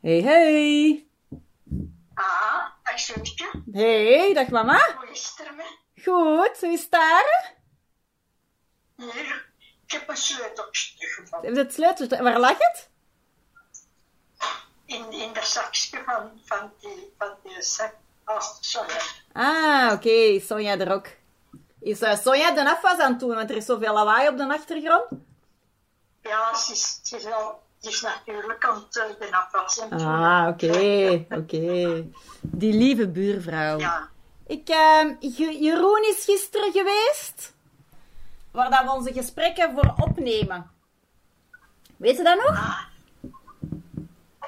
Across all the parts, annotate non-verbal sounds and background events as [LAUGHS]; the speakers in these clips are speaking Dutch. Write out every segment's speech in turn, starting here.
Hey, hey. Ah, dag zoontje. Hey, dag mama. Hoe is het ermee? Goed, hoe is het daar? Hier, ik heb een sleuteltje gevonden. Het sleutel, waar lag het? In, in de zakje van, van die, van die zak. Oh, sorry. Ah, oké, Sonja de Rok. Is eh, Sonja de afwas aan het doen, want er is zoveel lawaai op de achtergrond? Ja, ze is, ze is, al, ze is natuurlijk aan het eh, de afwas. en zo. Ah, oké, oké. Die lieve buurvrouw. Ja. Ik, ehm, Je- Jeroen is gisteren geweest, waar dat we onze gesprekken voor opnemen. Weet je dat nog?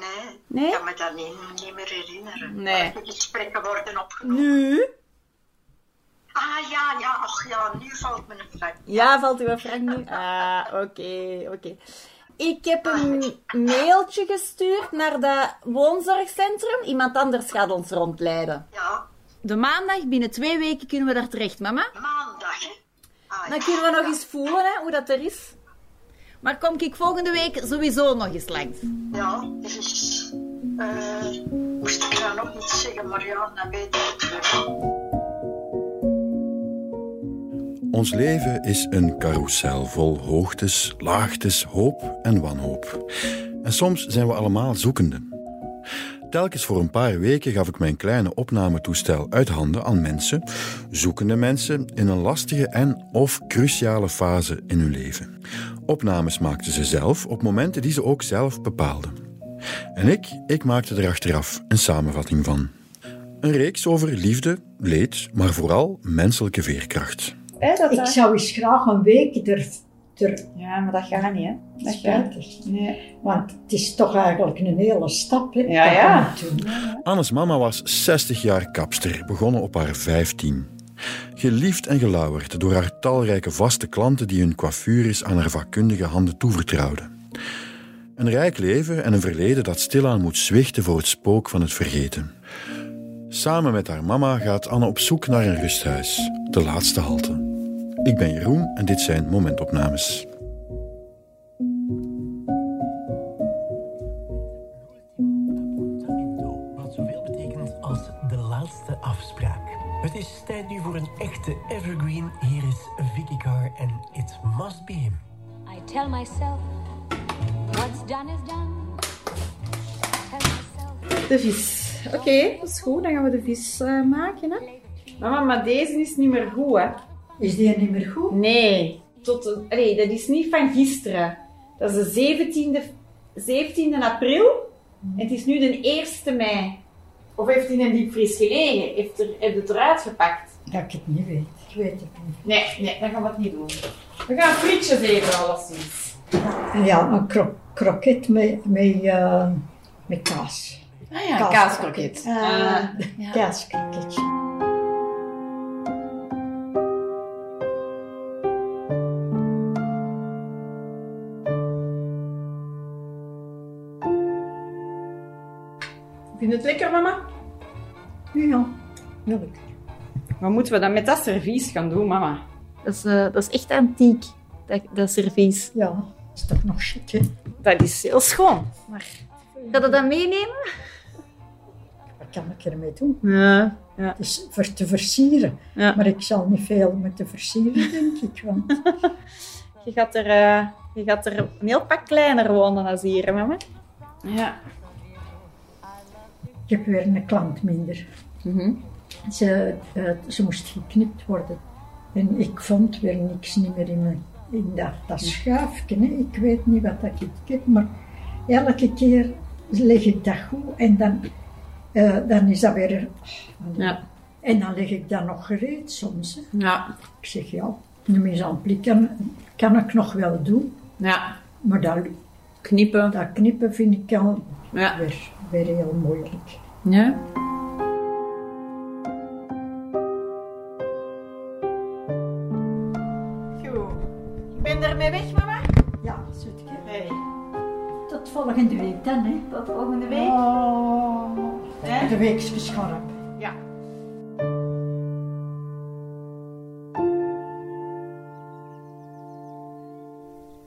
Nee, Nee? ik kan me dat niet, niet meer herinneren. Nee. Die gesprekken worden opgenomen. Nu? Ah, ja, ja, ach ja, nu valt me een vraag. Ja, valt uw vraag nu? Ah, oké, oké. Ik heb een mailtje gestuurd naar het woonzorgcentrum. Iemand anders gaat ons rondleiden. Ja, De maandag, binnen twee weken kunnen we daar terecht, mama. maandag, hè? Ah, Dan ja. kunnen we nog eens voelen hè, hoe dat er is. Maar kom ik volgende week sowieso nog eens langs. Ja, dus is. eh, moest ik dan ook niet zeggen, maar ja, dan weet ik het weer. Ons leven is een carousel vol hoogtes, laagtes, hoop en wanhoop. En soms zijn we allemaal zoekenden. Telkens voor een paar weken gaf ik mijn kleine opnametoestel uit handen aan mensen, zoekende mensen in een lastige en of cruciale fase in hun leven. Opnames maakten ze zelf op momenten die ze ook zelf bepaalden. En ik, ik maakte er achteraf een samenvatting van. Een reeks over liefde, leed, maar vooral menselijke veerkracht. Hè, dat, Ik dat- zou eens graag een week er, er Ja, maar dat gaat niet, hè? Dat gaat spijtig. Nee. Want het is toch eigenlijk een hele stap, hè? Ja, dat je ja. moet doen. Annes mama was 60 jaar kapster, begonnen op haar 15. Geliefd en gelauwerd door haar talrijke vaste klanten die hun coiffures aan haar vakkundige handen toevertrouwden. Een rijk leven en een verleden dat stilaan moet zwichten voor het spook van het vergeten. Samen met haar mama gaat Anne op zoek naar een rusthuis, de laatste halte. Ik ben Jeroen en dit zijn momentopnames. Appuntamento, wat zoveel betekent als de laatste afspraak. Het is tijd nu voor een echte evergreen. Hier is Vicky Carr en It Must Be Him. I tell myself, what's done is done. I tell myself. De vis. Oké, dat is goed. Dan gaan we de vis eh, maken, hè? Mama, maar deze is niet meer goed, hè? Is die niet meer goed? Nee. Tot, de- allee, dat is niet van gisteren. Dat is de 17e, 17e april. En het is nu de 1e mei. Of heeft hij in een diepvries gelegen? Heeft er, heeft het eruit gepakt? Dat ik het niet weet. Ik weet het niet. Nee, nee, dan gaan we het niet doen. We gaan frietjes even alleszins. Ja, een kro kroket met, met, eh, met kaas. Ah ja, Kaas- kaaskroket. Eh, Ah, ja. Kaaskroketje. Vind je het lekker, mama? Ja, leuk. Wat moeten we dan met dat servies gaan doen, mama? Dat is, eh, dat is echt antiek, dat, dat servies. Ja, dat is toch nog chic, hè? Dat is heel schoon. Gaat dat dan meenemen? Wat kan ik ermee doen? Ja. Het is voor te versieren. Ja. Maar ik zal niet veel moeten versieren, denk ik. Want Je gaat, er, eh, je gaat er een heel pak kleiner wonen dan hier, hè, mama. Ja. ik heb weer een klant minder. Mhm. Ze, eh, ze moest geknipt worden. En ik vond weer niks niet meer in, mijn, in dat, dat schuifje. hè. Ik weet niet wat dat ik heb, maar elke keer leg ik dat goed en dan, eh, dan is dat weer... Ja. En dan leg ik dat nog gereed soms. hè. Ja. Ik zeg, ja, een mise en plis kan, kan ik nog wel doen. Ja. Maar dat, Knippen. dat knippen vind ik al Ja. weer, weer heel moeilijk. Ja. Ik ben ermee weg, mama. Ja, zoetke. Nee. Tot volgende week dan, hè. Tot volgende Oh, Hè? de week is verscharpt. Ja.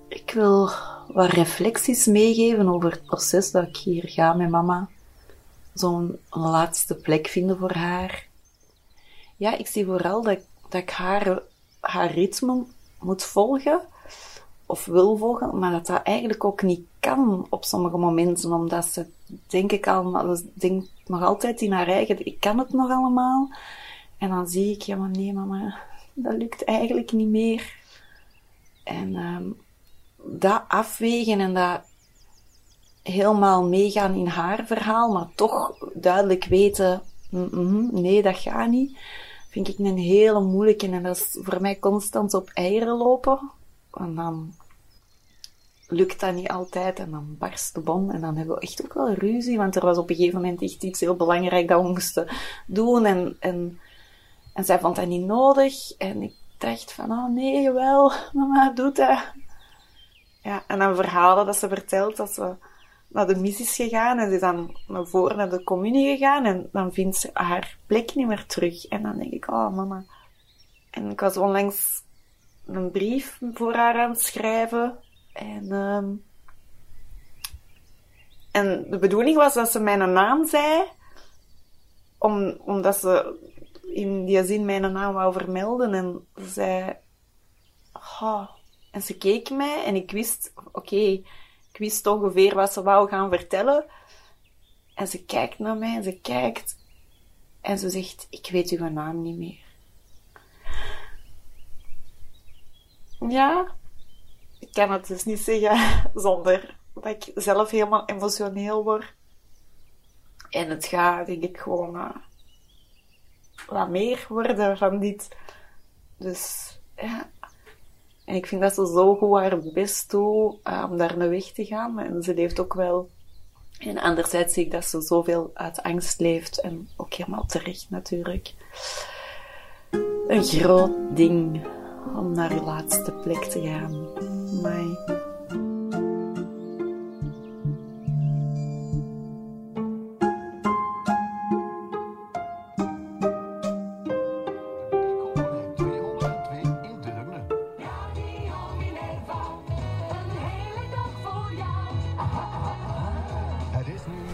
Ik wil wat reflecties meegeven over het proces dat ik hier ga met mama. Zo'n een laatste plek vinden voor haar. Ja, ik zie vooral dat, dat ik haar, haar ritme moet volgen of wil volgen, maar dat dat eigenlijk ook niet kan op sommige momenten, omdat ze, denk ik al, ze denkt nog altijd in haar eigen, ik kan het nog allemaal. En dan zie ik, ja maar nee mama, dat lukt eigenlijk niet meer. En ehm, dat afwegen en dat helemaal meegaan in haar verhaal, maar toch duidelijk weten, "Mm, mhm, nee dat gaat niet, vind ik een hele moeilijke. En dat is voor mij constant op eieren lopen. En dan lukt dat niet altijd en dan barst de bom en dan hebben we echt ook wel ruzie, want er was op een gegeven moment echt iets heel belangrijk dat we moesten doen en, en, en zij vond dat niet nodig en ik dacht van, oh nee, jawel, mama, doe dat. Ja, en dan verhalen dat ze vertelt dat ze naar de mis is gegaan en ze is dan naar voren naar de communie gegaan en dan vindt ze haar plek niet meer terug. En dan denk ik, oh mama. En ik was onlangs een brief voor haar aan het schrijven. En, ehm, en de bedoeling was dat ze mijn naam zei, om, omdat ze in die zin mijn naam wou vermelden. En ze zei, "Ah." en ze keek mij en ik wist, oké, ik wist ongeveer wat ze wou gaan vertellen. En ze kijkt naar mij en ze kijkt en ze zegt, ik weet uw naam niet meer. Ja, ik kan het dus niet zeggen [LAUGHS] zonder dat ik zelf helemaal emotioneel word. En het gaat, denk ik, gewoon eh, wat meer worden van dit. Dus ja. En ik vind dat ze zo goed haar best doet eh, om daar naar weg te gaan. En ze leeft ook wel. En anderzijds zie ik dat ze zoveel uit angst leeft. En ook helemaal terecht natuurlijk. Een groot ding om naar de laatste plek te gaan. Amai.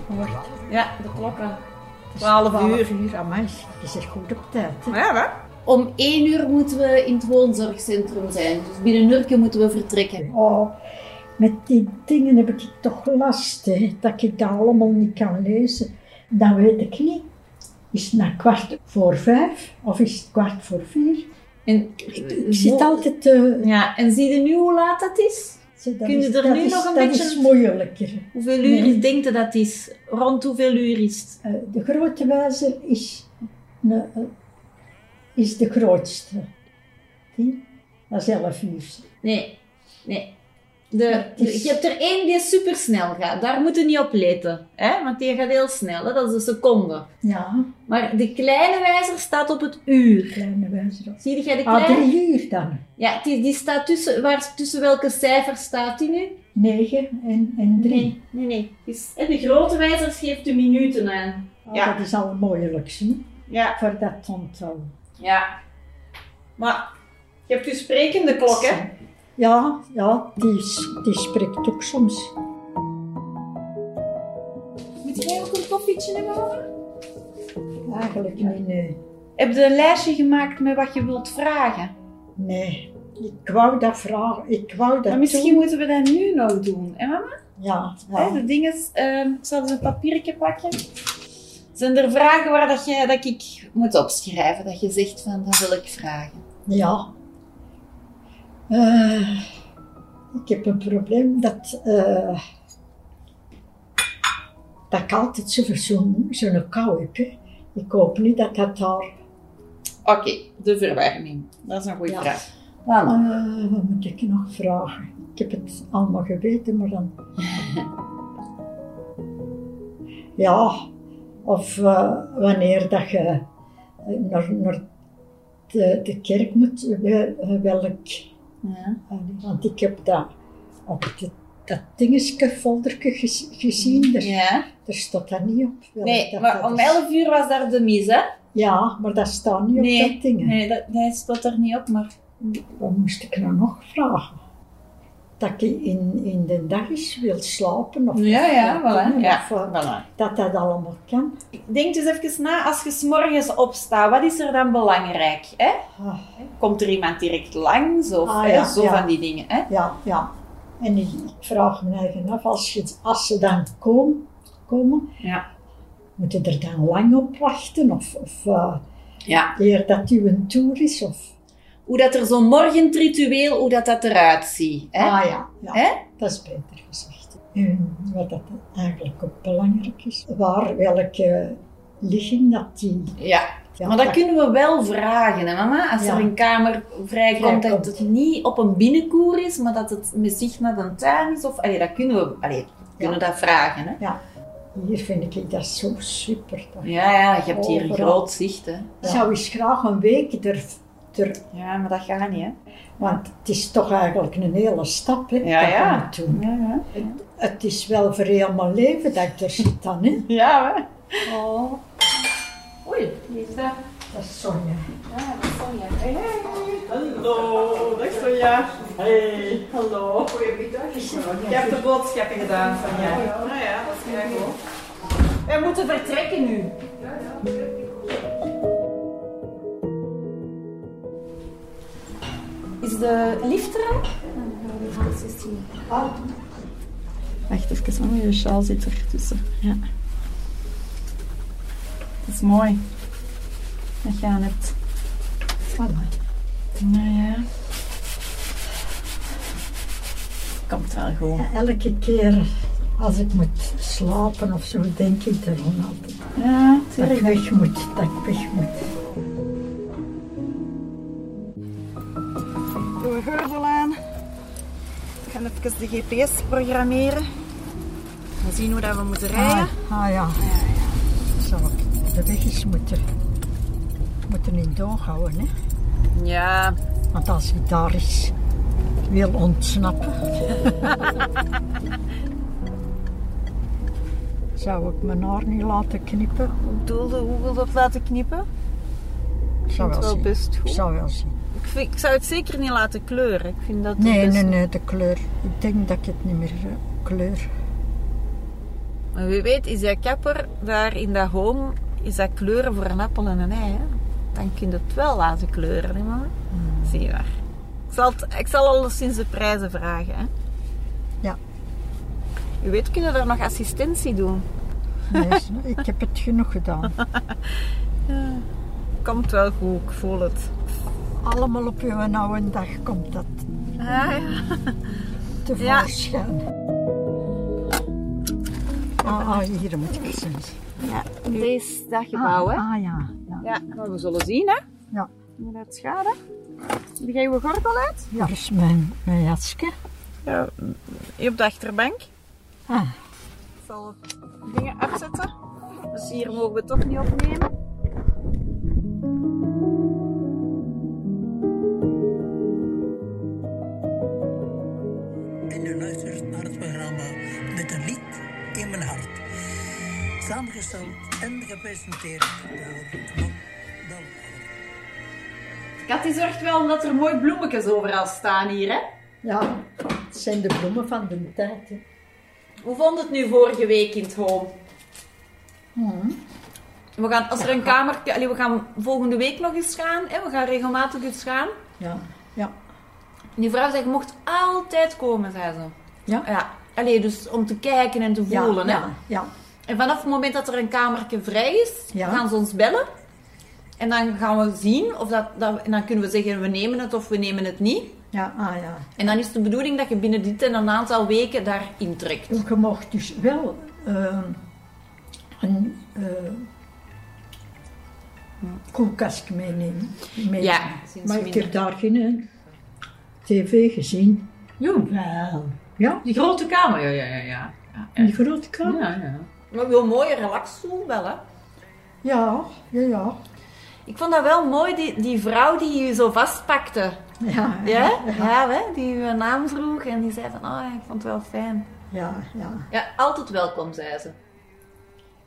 Wordt Ja, de klokken. 12 12 uur. uur, amai, je zit goed op tijd. hè. Ja, hè? Om één uur moeten we in het woonzorgcentrum zijn. Dus binnen een uurtje moeten we vertrekken. Oh, met die dingen heb ik toch last, hè, dat ik dat allemaal niet kan lezen. Dan weet ik niet. Is het na kwart voor vijf of is het kwart voor vier? En, Ik zit altijd eh, te... ja, en zie je nu hoe laat dat is? Kun je er nu nog een dat beetje- is moeilijker. Hoeveel uur Nee. denkt je dat het is? Rond hoeveel uur is het? Eh, de grote wijzer is, ne- eh, is de grootste. Die? Dat is elf uur. Nee, nee. De, is- je hebt er één die supersnel gaat. Daar moet je niet op letten. Hè? Want die gaat heel snel. Hè? Dat is een seconde. Ja, Maar de kleine wijzer staat op het uur. kleine wijzer. Zie jij de Ah, kleine? drie uur dan. Ja, die, die staat tussen... Waar, tussen welke cijfer staat die nu? Negen en, en drie. Nee, nee, nee. Het is- En de grote wijzer geeft de minuten aan. Ah, Ja. Dat is al moeilijk, hè? Ja. Voor dat onthouden. Ja. Maar je hebt je sprekende klok, hè? Ja, ja die, is- die spreekt ook soms. Moet jij ook een koffietje hebben? mama? Eigenlijk niet, nee. Heb je een lijstje gemaakt met wat je wilt vragen? Nee, ik wou dat vragen. Ik wou dat Maar misschien doen. moeten we dat nu nog doen, hè mama? Ja, Hè, ja. de dingen, ehm, ik zal eens een papiertje pakken. Zijn er vragen waar dat, je, dat ik moet opschrijven? Dat je zegt van, dat wil ik vragen. ja. Eh, ik heb een probleem dat... eh, dat ik altijd zo- zo'n zo'n kou heb. hè. Ik hoop niet dat dat daar... Oké, de verwarming. Dat is een goede Ja. vraag. Eh, wat moet ik nog vragen? Ik heb het allemaal geweten, maar dan. ja, of eh, wanneer dat je eh, naar, naar de, de kerk moet, wel- eh, welk. Ja. Allee, Want ik heb dat op de, dat dingetje, folderke gez- gezien, daar, Mm, Ja. daar staat dat niet op. welk Nee, dat maar dat om is. 11 uur was daar de mis, hè? Ja, maar dat staat niet op Nee, dat ding. hè. Nee, dat, dat stond er niet op, maar... Wat moest ik nou nog vragen? dat je in, in de dag eens wil slapen. Of Ja, ja, slapen, voilà. Ja, of, eh, voilà. Dat dat allemaal kan. Denk dus even na, als je 's morgens opstaat, wat is er dan belangrijk? Hè? Ah, Komt er iemand direct langs? Of Ah, hè, ja, zo ja. van die dingen. Hè? ja, ja. En ik vraag me eigen af, als, je, als ze dan komen, komen Ja. moeten er dan lang op wachten? Of, of eh, Ja. eer dat u een tour is? Of, Hoe dat er zo'n morgenritueel, hoe dat, dat eruit ziet. Hè? Ah ja, ja. Hè? dat is beter gezegd. En wat dat eigenlijk ook belangrijk is, waar welke ligging dat die... Ja, ja, maar dat kunnen we wel vragen, hè, mama? Als Ja. er een kamer vrijkomt, dat Vrijkomt. het niet op een binnenkoer is, maar dat het met zicht naar de tuin is. Of, allee, dat kunnen we, allee, we kunnen dat vragen, hè? Hier vind ik dat zo super. Dat Ja, ja, je hebt hier een Overal. groot zicht, hè? Ik zou eens graag een week er, er... Ja, maar dat gaat niet, hè? Want het is toch eigenlijk een hele stap, hè, Ja, dat ja. je moet doen. Ja, ja. Het is wel voor heel mijn leven dat ik er zit dan, hè. Ja, hè? Dat is Sonja. Hallo, dag Sonja. Hey. Hallo. Goedemiddag. Je hebt de boodschappen gedaan van jou. Nou ja, dat is heel goed. Wij moeten vertrekken nu. Is de lift er al? Wacht even, mama, je sjaal zit er tussen. Ja. Dat is mooi. Dat je aan hebt. Nou ja. Komt wel goed. Elke keer als ik moet slapen of zo, denk ik er gewoon altijd. Ja, Dat ik weg moet, dat ik weg moet. Doe een gordel aan. We gaan even de GPS programmeren. We zien hoe dat we moeten rijden. Ah, ah ja. Zou ik de weg eens moeten, moeten in doorhouden, hè. Ja, Want als ik daar eens wil ontsnappen... zou ik mijn haar niet laten knippen? Ik bedoelde, hoe wil dat laten knippen? Ik zou Ah, wel zien. best Ik zou wel zien. Ik, vind- ik zou het zeker niet laten kleuren. Ik vind dat het Nee, best- nee, nee, de kleur. Ik denk dat ik het niet meer eh, kleur. Maar wie weet is dat kapper daar in dat home, is dat kleuren voor een appel en een ei. Hè? Dan kun je het wel laten kleuren, hè mama? Zie je daar. Ik zal, het, ik zal alleszins de prijzen vragen, hè? Ja. U weet, kunnen we daar nog assistentie doen? [LAUGHS] Nee, ze- ik heb het genoeg gedaan. Komt wel goed, ik voel het. Allemaal op uw oude dag komt dat Ah, ja. tevoorschijn. Ah, ah, hier moet ik eens zien. Deze dat gebouw, hè? Ah ja, ja. Ja, maar we zullen zien, hè? Ja. Moet het schade? Die ga je gordel uit? Daar is mijn, mijn jasje. Ja, op de achterbank. Ah. Ik zal dingen afzetten. Dus hier mogen we toch niet opnemen. En u luistert naar het programma met een lied in mijn hart. Samengesteld en gepresenteerd door Bob Delhouwer. Katty zorgt wel dat er mooi bloemetjes overal staan hier, hè? Ja, het zijn de bloemen van de tijd. hè. Hoe vond het nu vorige week in het home? Hmm. We gaan, als er een kamer... Allee, we gaan volgende week nog eens gaan, hè? We gaan regelmatig eens gaan. Ja, ja. Die vrouw zei, je mocht altijd komen, zei ze. Ja? Ja. Allee, dus om te kijken en te voelen, ja, hè? ja, ja. En vanaf het moment dat er een kamertje vrij is, Ja. gaan ze ons bellen. En dan gaan we zien of dat, dat... En dan kunnen we zeggen, we nemen het of we nemen het niet. Ja, ah ja. En dan is de bedoeling dat je binnen dit en een aantal weken daarin trekt. Je mocht dus wel eh, een eh koelkast meenemen. meenemen. Ja, sinds maar ik minder. heb daar geen eh, tv gezien. Jo, Wel. Ja, die grote kamer, ja, ja, ja. ja. in die grote kamer. Ja, ja. Maar wel mooi, relaxed voel wel, hè. Ja, ja, ja. Ik vond dat wel mooi, die, die vrouw die je zo vastpakte. Ja, Ja? Ja, hè? Die je naam vroeg en die zei van, "Ah, oh, ik vond het wel fijn. ja, ja. Ja, altijd welkom, zei ze.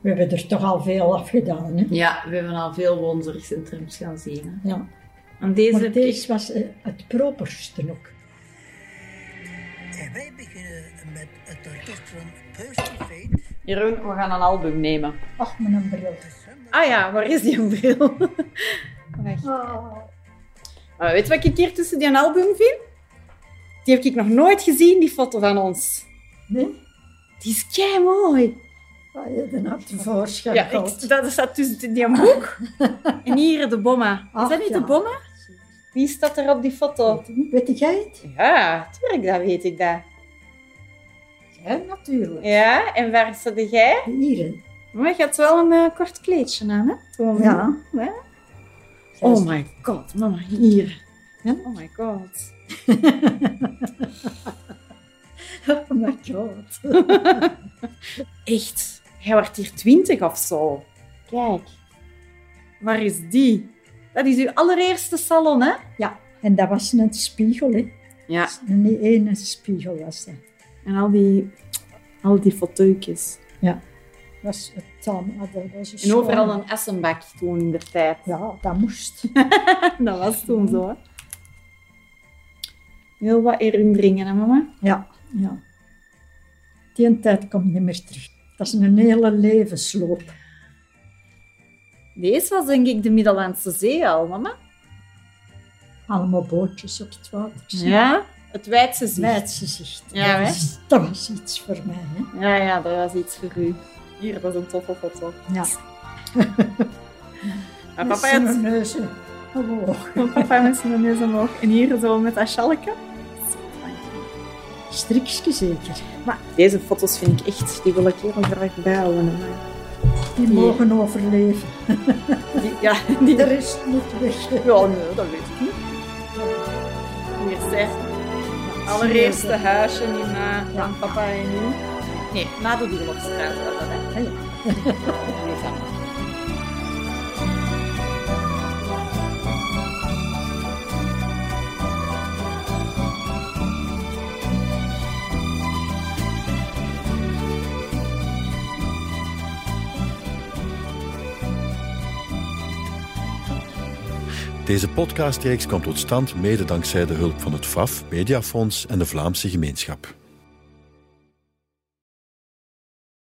We hebben er toch al veel afgedaan. Hè? Ja, we hebben al veel wondercentrums gaan zien. Hè. Ja. En deze, Maar deze was eh, het properste ook. En met het orkest van Thursday Fate. Jeroen, we gaan een album nemen. Ach, mijn bril. Ah ja, waar is die bril? [LAUGHS] Wacht. Maar weet je wat ik hier tussen die album vind? Die heb ik nog nooit gezien, die foto van ons. Nee? Die is kei mooi. Ah, je dan had tevoorschijn Ja, ik, dat staat tussen die [LAUGHS] boek en hier de bomma. Is Ach, dat niet ja. de bomma? Wie staat er op die foto? Weet jij het? Ja, tuurlijk, dat weet ik dat. Ja, natuurlijk. Ja, en waar zat jij? Hier. [LAUGHS] hè. Maar je had wel een eh, kort kleedje aan, hè? Toen, Ja. hè? Oh my god, mama, hier. Ja? Oh my god. Oh my god. Echt, jij wordt hier twintig of zo. Kijk. Waar is die? Dat is uw allereerste salon, hè? En dat was een spiegel, hè. Ja. En die ene spiegel was dat. En al die, al die fotootjes. Was het dan, ah, dat was een En overal schone- een essenbak toen in de [LAUGHS] tijd. Ja, dat [LAUGHS] moest. Dat was toen zo, hè? Heel wat herinneringen, hè, mama? Ja, ja. Die tijd komt niet meer terug. Dat is een hele levensloop. Deze was denk ik de Middellandse Zee al, mama. Allemaal bootjes op het water. Het Weidse Zee. Meidsgezicht. Ja, dat, hè? was, dat was iets voor mij. Hè? Ja, ja, dat was iets voor u. Hier, dat is een toffe foto. Ja. Maar Met papa, had, zo'n neus, hè. Oh, papa met zijn neus omhoog. En hier zo met dat sjalke. strikje zeker. Maar deze foto's vind ik echt, die wil ik heel graag bijhouden. Die Hier. mogen overleven. Die, ja, die... De rest moet weg. Ja, nee, dat weet ik niet. Hier zegt allereerste huisje niet na van papa en u. Nee, na de Doerlofstraat was dat, hè? Ja. Deze podcastreeks komt tot stand mede dankzij de hulp van het FAF, Mediafonds en de Vlaamse Gemeenschap.